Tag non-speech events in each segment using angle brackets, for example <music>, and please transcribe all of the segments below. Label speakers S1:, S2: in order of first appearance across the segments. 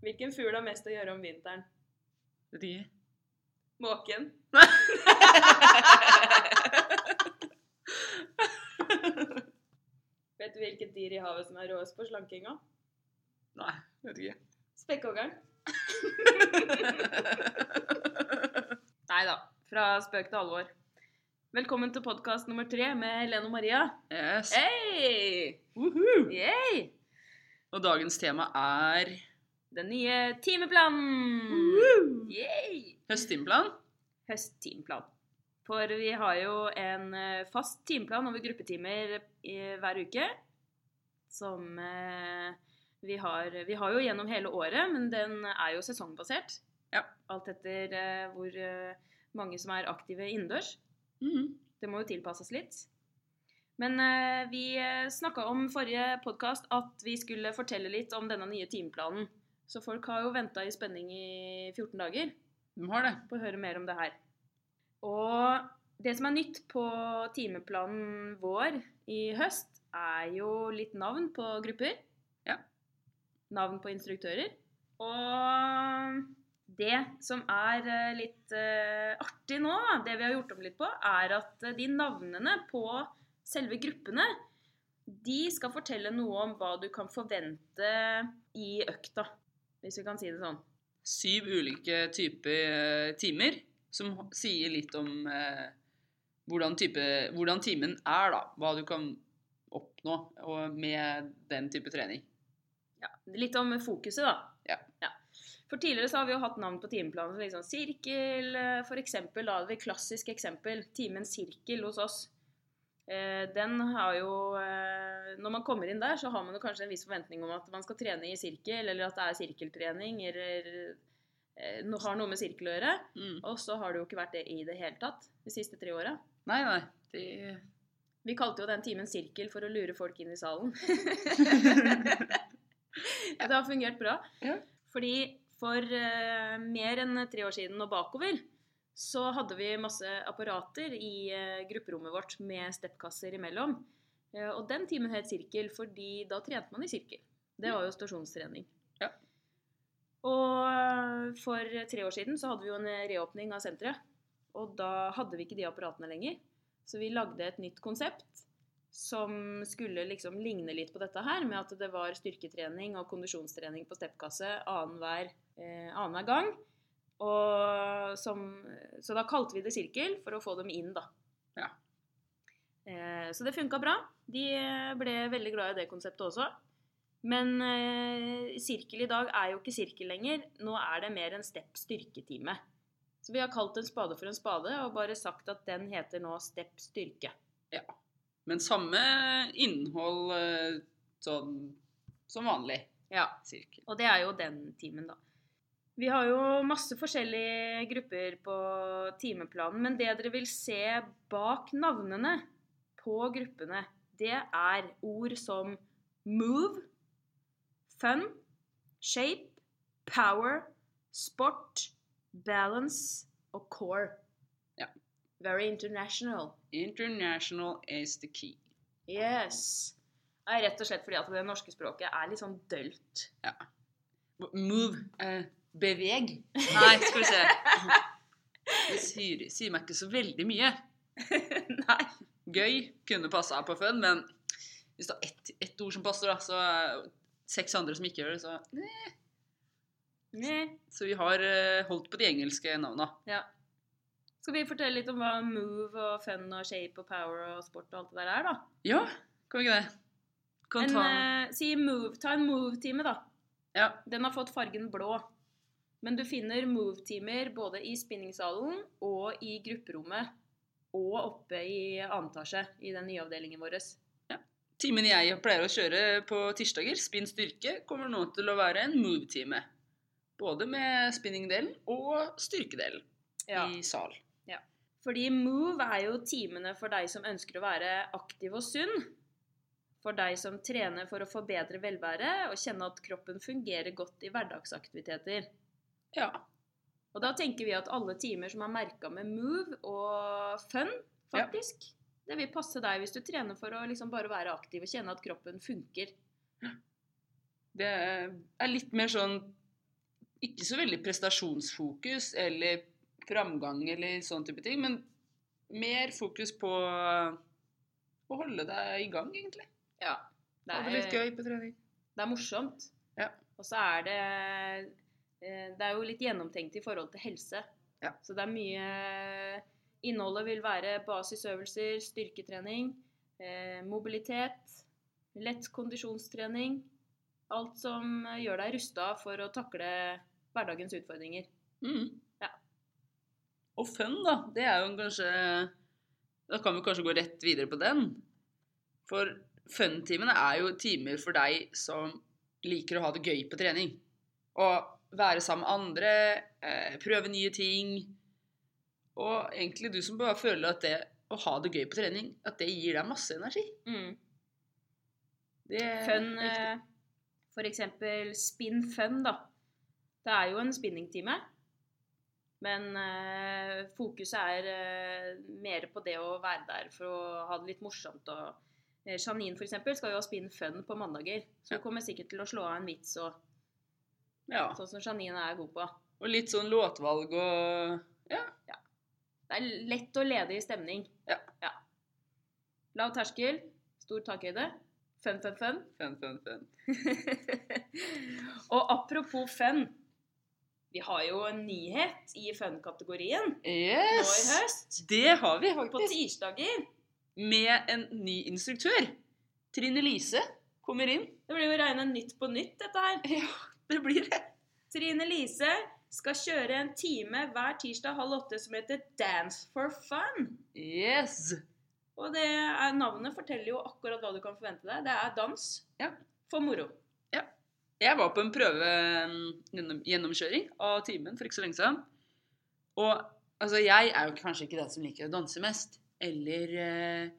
S1: Hvilken fugl har mest å gjøre om vinteren?
S2: Rie.
S1: Måken? Vet du hvilket dyr i havet som er råest på slankinga?
S2: Nei, vet ikke.
S1: Spekkhoggeren.
S2: Nei da.
S1: Fra spøk til alvor. Velkommen til podkast nummer tre med Helene og Maria.
S2: Yes.
S1: Eh? Hei!
S2: Woohoo!
S1: Yay!
S2: Og dagens tema er
S1: Den nye timeplanen!
S2: Woo!
S1: Yay!
S2: høsttimeplan.
S1: Høsttimeplan. For vi har jo en eh, fast timeplan over gruppetimer i- hver uke. Som eh, vi har, vi har jo gjennom hele året, men den er jo sesongbasert.
S2: Ja.
S1: Alt etter eh, hvor eh, mange som er aktive innendørs.
S2: Mhm.
S1: Det må jo tilpasses litt. Men eh, vi snakka om forrige podkast at vi skulle fortelle litt om denne nye timeplanen. Så folk har jo venta i spenning i 14 dager
S2: De har det.
S1: på å høre mer om det her. Og det som er nytt på timeplanen vår i høst, er jo litt navn på grupper.
S2: Ja.
S1: Navn på instruktører. Og det som er eh, litt eh, artig nå, da, det vi har gjort om litt på, er at eh, de navnene på selve gruppene, de skal fortelle noe om hva du kan forvente i økta, hvis vi kan si det sånn.
S2: Syv ulike typer eh, timer som h- sier litt om eh, hvordan, type, hvordan timen er, da. Hva du kan oppnå og med den type trening.
S1: Litt om fokuset, da.
S2: Ja.
S1: For tidligere så har vi jo hatt navn på timeplanen som liksom sirkel, eh, for eksempel. Da hadde vi klassisk eksempel. Timen sirkel hos oss. Eh, Den har jo eh, Når man kommer inn der, så har man jo kanskje en viss forventning om at man skal trene i sirkel, eller at det er sirkeltrening, eller eh, no- har noe med sirkel å gjøre.
S2: Mm.
S1: Og så har det jo ikke vært det i det hele tatt de siste tre åra.
S2: Nei, nei. Det
S1: Vi kalte jo den timen sirkel for å lure folk inn i salen. <laughs> Og det har fungert bra.
S2: Ja.
S1: Fordi for eh, mer enn tre år siden og bakover så hadde vi masse apparater i eh, grupperommet vårt med steppkasser imellom. Eh, og den timen het sirkel, fordi da trente man i sirkel. Det var jo stasjonstrening.
S2: Ja.
S1: Og eh, for tre år siden så hadde vi jo en reåpning av senteret. Og da hadde vi ikke de apparatene lenger. Så vi lagde et nytt konsept som skulle liksom ligne litt på dette her, med at det var styrketrening og kondisjonstrening på steppkasse annenhver eh, annenhver gang. Og som, så da kalte vi det sirkel for å få dem inn, da.
S2: Ja.
S1: Eh, så det funka bra. De eh, ble veldig glad i det konseptet også. Men eh, sirkel i dag er jo ikke sirkel lenger. Nå er det mer en stepp styrketime. Så vi har kalt en spade for en spade, og bare sagt at den heter nå stepp styrke.
S2: Men samme innhold eh, sånn som vanlig.
S1: Ja.
S2: Cirka.
S1: Og det er jo den timen, da. Vi har jo masse forskjellige grupper på timeplanen, men det dere vil se bak navnene på gruppene, det er ord som move, fun, shape, power, sport, balance og core.
S2: Ja.
S1: Very international.
S2: International is the key.
S1: Yes. Det er rett og slett fordi at det norske språket er litt sånn dølt.
S2: Move. eh, beveg.
S1: <laughs>
S2: Nei, skal vi se. Det sier, sier meg ikke så veldig mye.
S1: <laughs> Nei.
S2: Gøy kunne passa på fun, men hvis det er ett ett ord som passer, da, så er det seks andre som ikke gjør det, så
S1: Nei.
S2: Så vi har eh, holdt på de engelske navna.
S1: Ja. Skal vi fortelle litt om hva move og fun og shape og power og sport og alt det der er, da?
S2: Ja, kan vi ikke det? Kan
S1: En,
S2: ta
S1: eh, si move, ta en move-time, da.
S2: Ja.
S1: Den har fått fargen blå. Men du finner move-timer både i spinningsalen og i grupperommet. Og oppe i annen etasje i den nye avdelingen vår.
S2: Timen jeg pleier å kjøre på tirsdager, spinn styrke, kommer nå til å være en move-time. Både med spinningdelen og styrkedelen i sal.
S1: Fordi move er jo timene for deg som ønsker å være aktiv og sunn. For deg som trener for å forbedre velværet og kjenne at kroppen fungerer godt i hverdagsaktiviteter.
S2: Ja.
S1: Og da tenker vi at alle timer som er merka med move og fun,
S2: Ja.
S1: faktisk, det vil passe deg hvis du trener for å liksom bare være aktiv og kjenne at kroppen funker.
S2: Det er litt mer sånn ikke så veldig prestasjonsfokus eller framgang eller sånn type ting, men mer fokus på å holde deg i gang, egentlig.
S1: Ja. Det
S2: Ha det litt
S1: er,
S2: gøy på trening.
S1: det er morsomt.
S2: Ja.
S1: Og så er det eh, Det er jo litt gjennomtenkt i forhold til helse.
S2: Ja.
S1: Så det er mye Innholdet vil være basisøvelser, styrketrening, eh, mobilitet, lett kondisjonstrening. Alt som eh, gjør deg rusta for å takle hverdagens utfordringer.
S2: Mm.
S1: Ja.
S2: Og fun, da. Det er jo kanskje Da kan vi kanskje gå rett videre på den. For fun-timene er jo timer for deg som liker å ha det gøy på trening. Og være sammen med andre, eh, prøve nye ting. Og egentlig du som bare føler at det å ha det gøy på trening, at det gir deg masse energi.
S1: Mm.
S2: Det er
S1: Fun,
S2: riktig.
S1: eh, for eksempel spinn fun, da. Det er jo en spinningtime, men eh, fokuset er eh, mer på det å være der for å ha det litt morsomt. Og, eh, Janine for eksempel skal jo ha spinn fun på mandager, så hun kommer sikkert til å slå av en vits og
S2: Ja.
S1: sånn som Janine er god på.
S2: Og litt sånn låtvalg og
S1: Det er lett og ledig stemning.
S2: Ja.
S1: Lav terskel, stor takhøyde. Fun, fun, fun.
S2: fun, fun, fun.
S1: <laughs> Og apropos fun. Vi har jo en nyhet i fun-kategorien nå i
S2: Yes!
S1: høst.
S2: Det har vi
S1: På
S2: faktisk.
S1: tirsdager.
S2: med en ny instruktør. Trine Lise kommer inn.
S1: Det blir jo regna nytt på nytt, dette her.
S2: <laughs> Ja, det blir det.
S1: Trine Lise skal kjøre en time hver tirsdag halv åtte som heter Dance for fun.
S2: Yes.
S1: Og det er, navnet forteller jo akkurat hva du kan forvente deg. Det er dans
S2: Ja.
S1: for moro.
S2: Jeg var på en prøve mm, gjennom, gjennomkjøring av timen for ikke så lenge siden. Og altså, jeg er jo kanskje ikke den som liker å danse mest. Eller eh,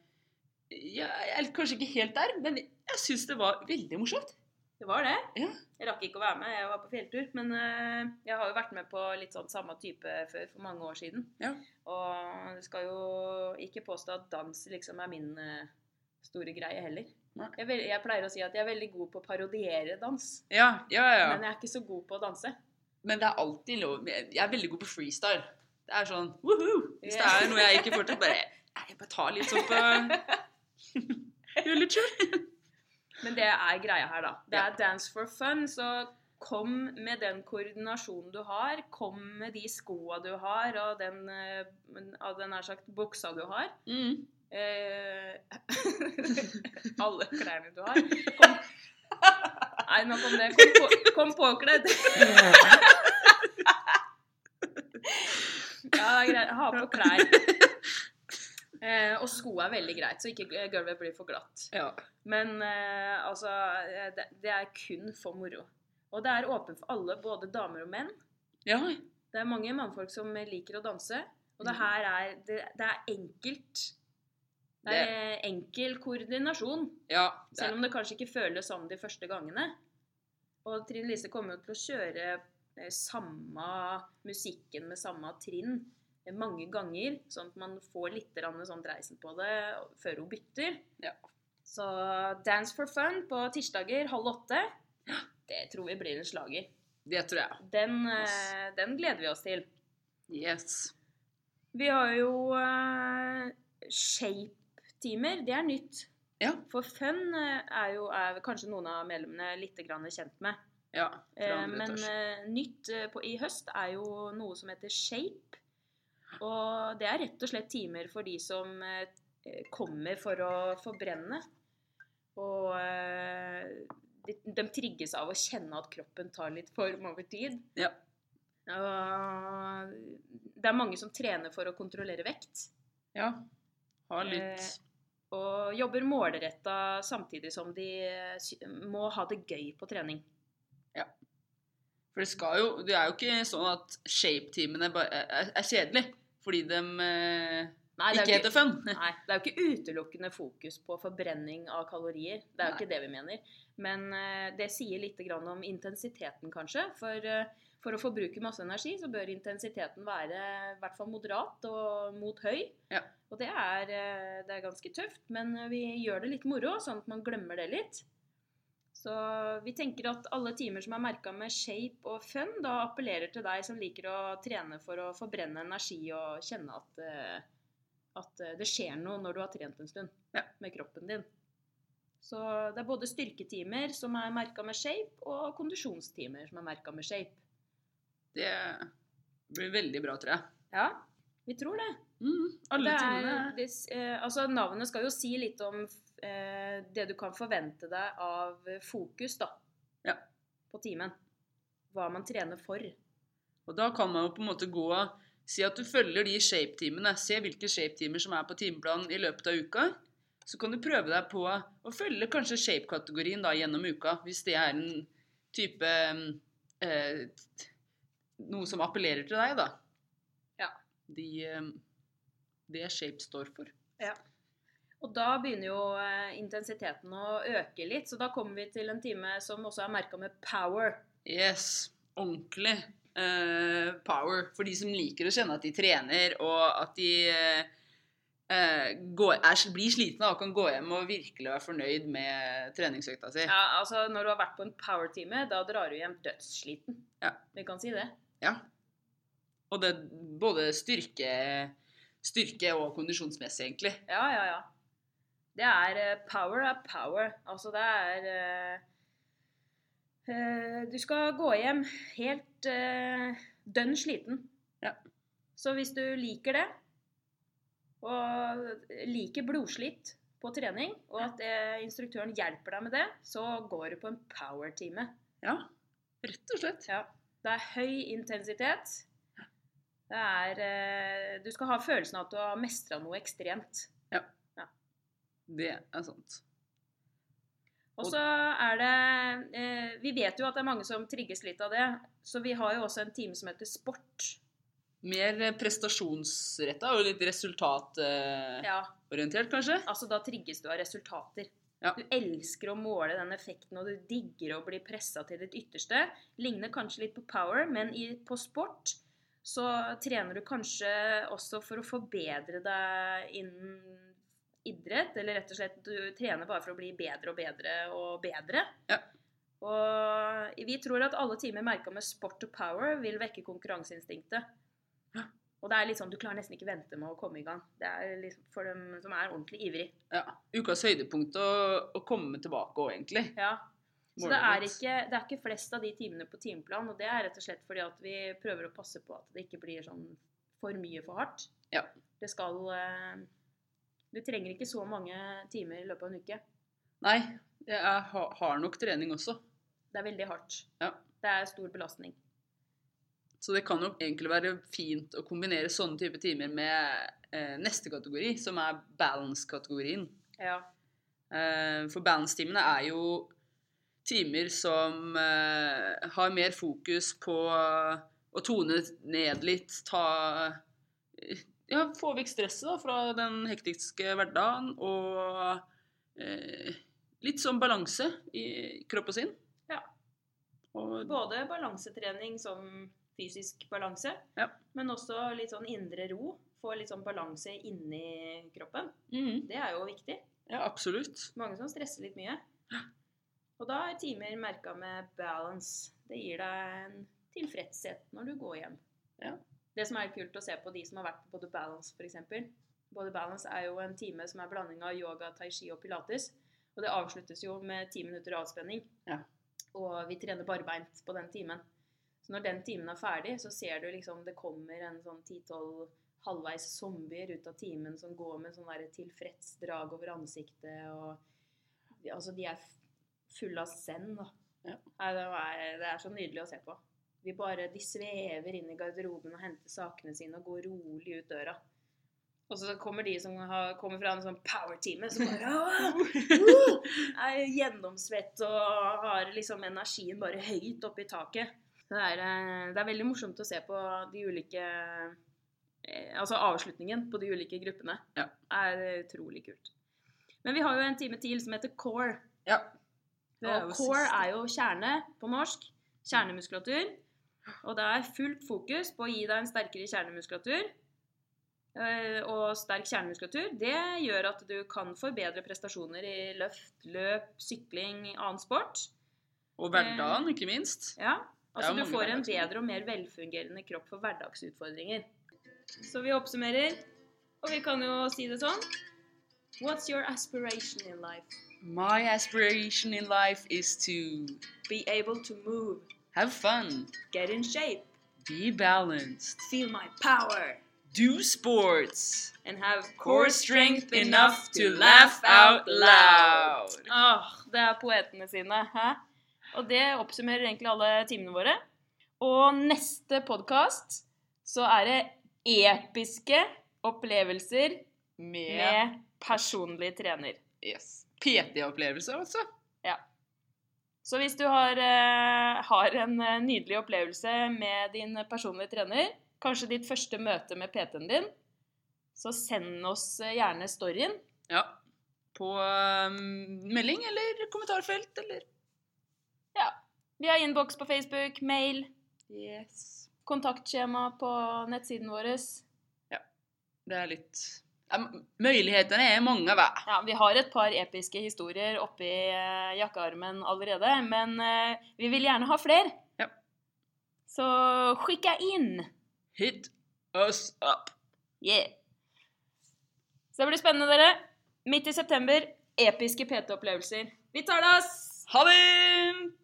S2: ja, Jeg er kanskje ikke helt der, men jeg syns det var veldig morsomt.
S1: Det var det.
S2: Ja.
S1: Jeg rakk ikke å være med, jeg var på fjelltur. Men eh, jeg har jo vært med på litt sånn samme type før, for mange år siden.
S2: Ja.
S1: Og du skal jo ikke påstå at dans liksom er min eh, store greie heller.
S2: Nei.
S1: Jeg, vil, jeg pleier å si at jeg er veldig god på å parodiere dans,
S2: Ja, ja, ja.
S1: men jeg er ikke så god på å danse.
S2: Men det er alltid lov Jeg er veldig god på freestyle. Det er sånn woohoo! Hvis det er noe jeg ikke får til, bare Nei, jeg bare tar litt sånn på <laughs> Gjør litt sjøl.
S1: Men det er greia her, da. Det
S2: Ja.
S1: er dance for fun, så kom med den koordinasjonen du har. Kom med de skoa du har, og den, eh, av den nær sagt buksa du har.
S2: Mm. <laughs>
S1: Eh, alle klærne du har. Kom. Nei, nå kom det. Kom, på, kom påkledd. Ja, greit. Ha på klær. Eh, og sko er veldig greit, så ikke eh, gulvet blir for glatt.
S2: Ja.
S1: Men eh, altså eh, det, det er kun for moro. Og det er åpent for alle, både damer og menn.
S2: ja.
S1: Det er mange mannfolk som liker å danse, og det her er Det, det er enkelt. Det er enkel koordinasjon,
S2: Ja. Det
S1: selv
S2: er,
S1: om det kanskje ikke føles sånn de første gangene. Og Trine Lise kommer jo til å kjøre eh, samme musikken med samme trinn eh, mange ganger, sånn at man får litt grann sånn dreisen på det før hun bytter.
S2: Ja.
S1: Så Dance for fun på tirsdager halv åtte, det tror vi blir en slager.
S2: det tror jeg.
S1: Den, eh,
S2: Yes.
S1: den gleder vi oss til.
S2: Yes.
S1: Vi har jo eh, shape-timer. Det er nytt.
S2: Ja.
S1: For fun eh, er jo er kanskje noen av medlemmene litt grann kjent med.
S2: Ja. Fra
S1: Eh,
S2: andre
S1: men
S2: etasje.
S1: eh, nytt eh, på, i høst er jo noe som heter shape. Og det er rett og slett timer for de som eh, kommer for å forbrenne. Og eh, de, de trigges av å kjenne at kroppen tar litt form over tid.
S2: Ja.
S1: Og det er mange som trener for å kontrollere vekt.
S2: Ja. Ha litt
S1: eh, Og jobber målretta samtidig som de eh, sy- må ha det gøy på trening.
S2: For det skal jo Det er jo ikke sånn at shape-timene bare er, er kjedelige fordi de eh,
S1: Nei, det er
S2: ikke
S1: jo
S2: heter fun.
S1: Nei, det er jo ikke utelukkende fokus på forbrenning av kalorier. Det er jo
S2: Nei.
S1: ikke det vi mener. Men eh, det sier litt grann om intensiteten, kanskje. For, eh, for å forbruke masse energi, så bør intensiteten være i hvert fall moderat og mot høy.
S2: Ja.
S1: Og det eh, er, eh, det er ganske tøft, men vi gjør det litt moro, sånn at man glemmer det litt. Så vi tenker at alle timer som er merka med shape og fun, da appellerer til deg som liker å trene for å forbrenne energi og kjenne at, eh, at eh, det skjer noe når du har trent en stund
S2: Ja.
S1: med kroppen din. Så det er både styrketimer som er merka med shape, og kondisjonstimer som er merka med shape.
S2: Det blir veldig bra, tror jeg.
S1: Ja, vi tror det.
S2: Mm, alle
S1: det
S2: timene.
S1: er, det, s- eh, altså Navnet skal jo si litt om eh, det du kan forvente deg av fokus da,
S2: Ja.
S1: på timen. Hva man trener for.
S2: Og da kan man jo på en måte gå Si at du følger de shape-timene. Se hvilke shape-timer som er på timeplanen i løpet av uka. Så kan du prøve deg på å følge kanskje shape-kategorien da gjennom uka, hvis det er en type eh, t- Noe som appellerer til deg, da.
S1: Ja.
S2: De, eh, det shape står for.
S1: Og da begynner jo eh, intensiteten å øke litt, så da kommer vi til en time som også er merka med power.
S2: Yes. Ordentlig eh, power for de som liker å kjenne at de trener, og at de eh, eh, går, er, blir slitne og kan gå hjem og virkelig være fornøyd med treningsøkta si.
S1: Ja, altså Når du har vært på en power-time, da drar du hjem dødssliten.
S2: Ja.
S1: Vi kan si det.
S2: Ja. Og det er både styrke, styrke og kondisjonsmessig, egentlig.
S1: Ja, ja, ja. Det er eh, Power er power. Altså, det er eh, eh, Du skal gå hjem helt eh, dønn sliten.
S2: Ja.
S1: Så hvis du liker det, og liker blodslitt på trening, og at eh, instruktøren hjelper deg med det, så går du på en power-time.
S2: Ja, rett og slett.
S1: Ja. Det er høy intensitet. Det er eh, Du skal ha følelsen av at du har mestra noe ekstremt.
S2: Det er sant.
S1: Og så er det eh, Vi vet jo at det er mange som trigges litt av det, så vi har jo også en time som heter sport.
S2: Mer prestasjonsretta og litt resultatorientert,
S1: Ja,
S2: kanskje?
S1: altså da trigges du av resultater.
S2: Ja.
S1: Du elsker å måle den effekten, og du digger å bli pressa til ditt ytterste. Ligner kanskje litt på power, men i, på sport så trener du kanskje også for å forbedre deg innen idrett, eller rett og slett du trener bare for å bli bedre og bedre og bedre.
S2: Ja.
S1: Og vi tror at alle timer merka med sport og power vil vekke konkurranseinstinktet.
S2: Ja.
S1: Og det er litt sånn, du klarer nesten ikke vente med å komme i gang. Det er liksom for dem som er ordentlig ivrig.
S2: Ja. Ukas høydepunkt å, å komme tilbake òg, egentlig.
S1: Ja. Så det er,
S2: Målrettet.
S1: ikke, det er ikke flest av de timene på timeplan, og det er rett og slett fordi at vi prøver å passe på at det ikke blir sånn for mye for hardt.
S2: Ja.
S1: Det skal eh, Du trenger ikke så mange timer i løpet av en uke.
S2: Nei, jeg er, ha- har nok trening også.
S1: Det er veldig hardt.
S2: Ja.
S1: Det er stor belastning.
S2: Så det kan jo egentlig være fint å kombinere sånne type timer med eh, neste kategori, som er balance-kategorien.
S1: Ja.
S2: Eh, for balance-timene er jo timer som eh, har mer fokus på å tone ned litt, ta Ja, få vekk stresset da, fra den hektiske hverdagen og eh, litt sånn balanse i kropp og sinn.
S1: Ja.
S2: Og
S1: Både balansetrening som fysisk balanse,
S2: Ja.
S1: men også litt sånn indre ro. Få litt sånn balanse inni kroppen.
S2: Mhm.
S1: Det er jo viktig.
S2: Ja, absolutt.
S1: Mange som stresser litt mye. Og da er timer merka med balance. Det gir deg en tilfredshet når du går hjem.
S2: Ja.
S1: Det som er kult å se på de som har vært på Body Balance f.eks. Body Balance er jo en time som er blanding av yoga, tai chi og pilates. Og det avsluttes jo med ti minutter avspenning.
S2: Ja.
S1: Og vi trener barbeint på den timen. Så når den timen er ferdig, så ser du liksom det kommer en sånn 10-12 halvveis zombier ut av timen som går med sånn der tilfreds drag over ansiktet og Altså, de er f- fulle av zen, da.
S2: Ja.
S1: Nei, det, er, det er så nydelig å se på. De bare de svever inn i garderoben og henter sakene sine og går rolig ut døra. Og så kommer de som har, kommer fra en sånn power-time, som bare «Åh,
S2: <laughs>
S1: uh, er gjennomsvett og har liksom energien bare høyt oppe i taket. Så Det er, eh, det er veldig morsomt å se på de ulike eh, Altså avslutningen på de ulike gruppene.
S2: Ja.
S1: er utrolig kult. Men vi har jo en time til som heter core.
S2: Ja.
S1: Og core er jo kjerne på norsk. Kjernemuskulatur. Og det er fullt fokus på å gi deg en sterkere kjernemuskulatur. eh, og sterk kjernemuskulatur, det gjør at du kan forbedre prestasjoner i løft, løp, sykling, annen sport.
S2: Og hverdagen, ikke minst.
S1: Ja.
S2: Det er jo
S1: Altså du
S2: mange
S1: får en
S2: hverdagsutfordringer.
S1: bedre og mer velfungerende kropp for hverdagsutfordringer. Så vi oppsummerer, og vi kan jo si det sånn What's your aspiration in life?
S2: My aspiration in life is to
S1: Be able to move,
S2: have fun,
S1: get in shape,
S2: be balanced,
S1: feel my power,
S2: do sports,
S1: and have
S2: core strength enough to laugh out loud.
S1: Åh, det er poetene sine. Hæ? Og det oppsummerer egentlig alle timene våre. Og neste podkast så er det episke opplevelser
S2: Med
S1: med personlig trener.
S2: yes. PT-opplevelse, altså.
S1: Så hvis du har, eh, har en eh, nydelig opplevelse med din personlige trener, kanskje ditt første møte med PT-en din, så send oss eh, gjerne storyen.
S2: Ja. På um, melding eller kommentarfelt eller
S1: Vi har innboks på Facebook, mail,
S2: Yes.
S1: kontaktskjema på nettsiden vår.
S2: Det er litt ja, m- Mulighetene er mange, hva?
S1: Ja, vi har et par episke historier oppi eh, jakkearmen allerede, men eh, vi vil gjerne ha flere.
S2: Ja.
S1: Så skicka inn!
S2: Hit us up.
S1: Yeah! Så det blir spennende, dere. Midt i september, episke PT-opplevelser. Vi tar det, ass!
S2: Ha det!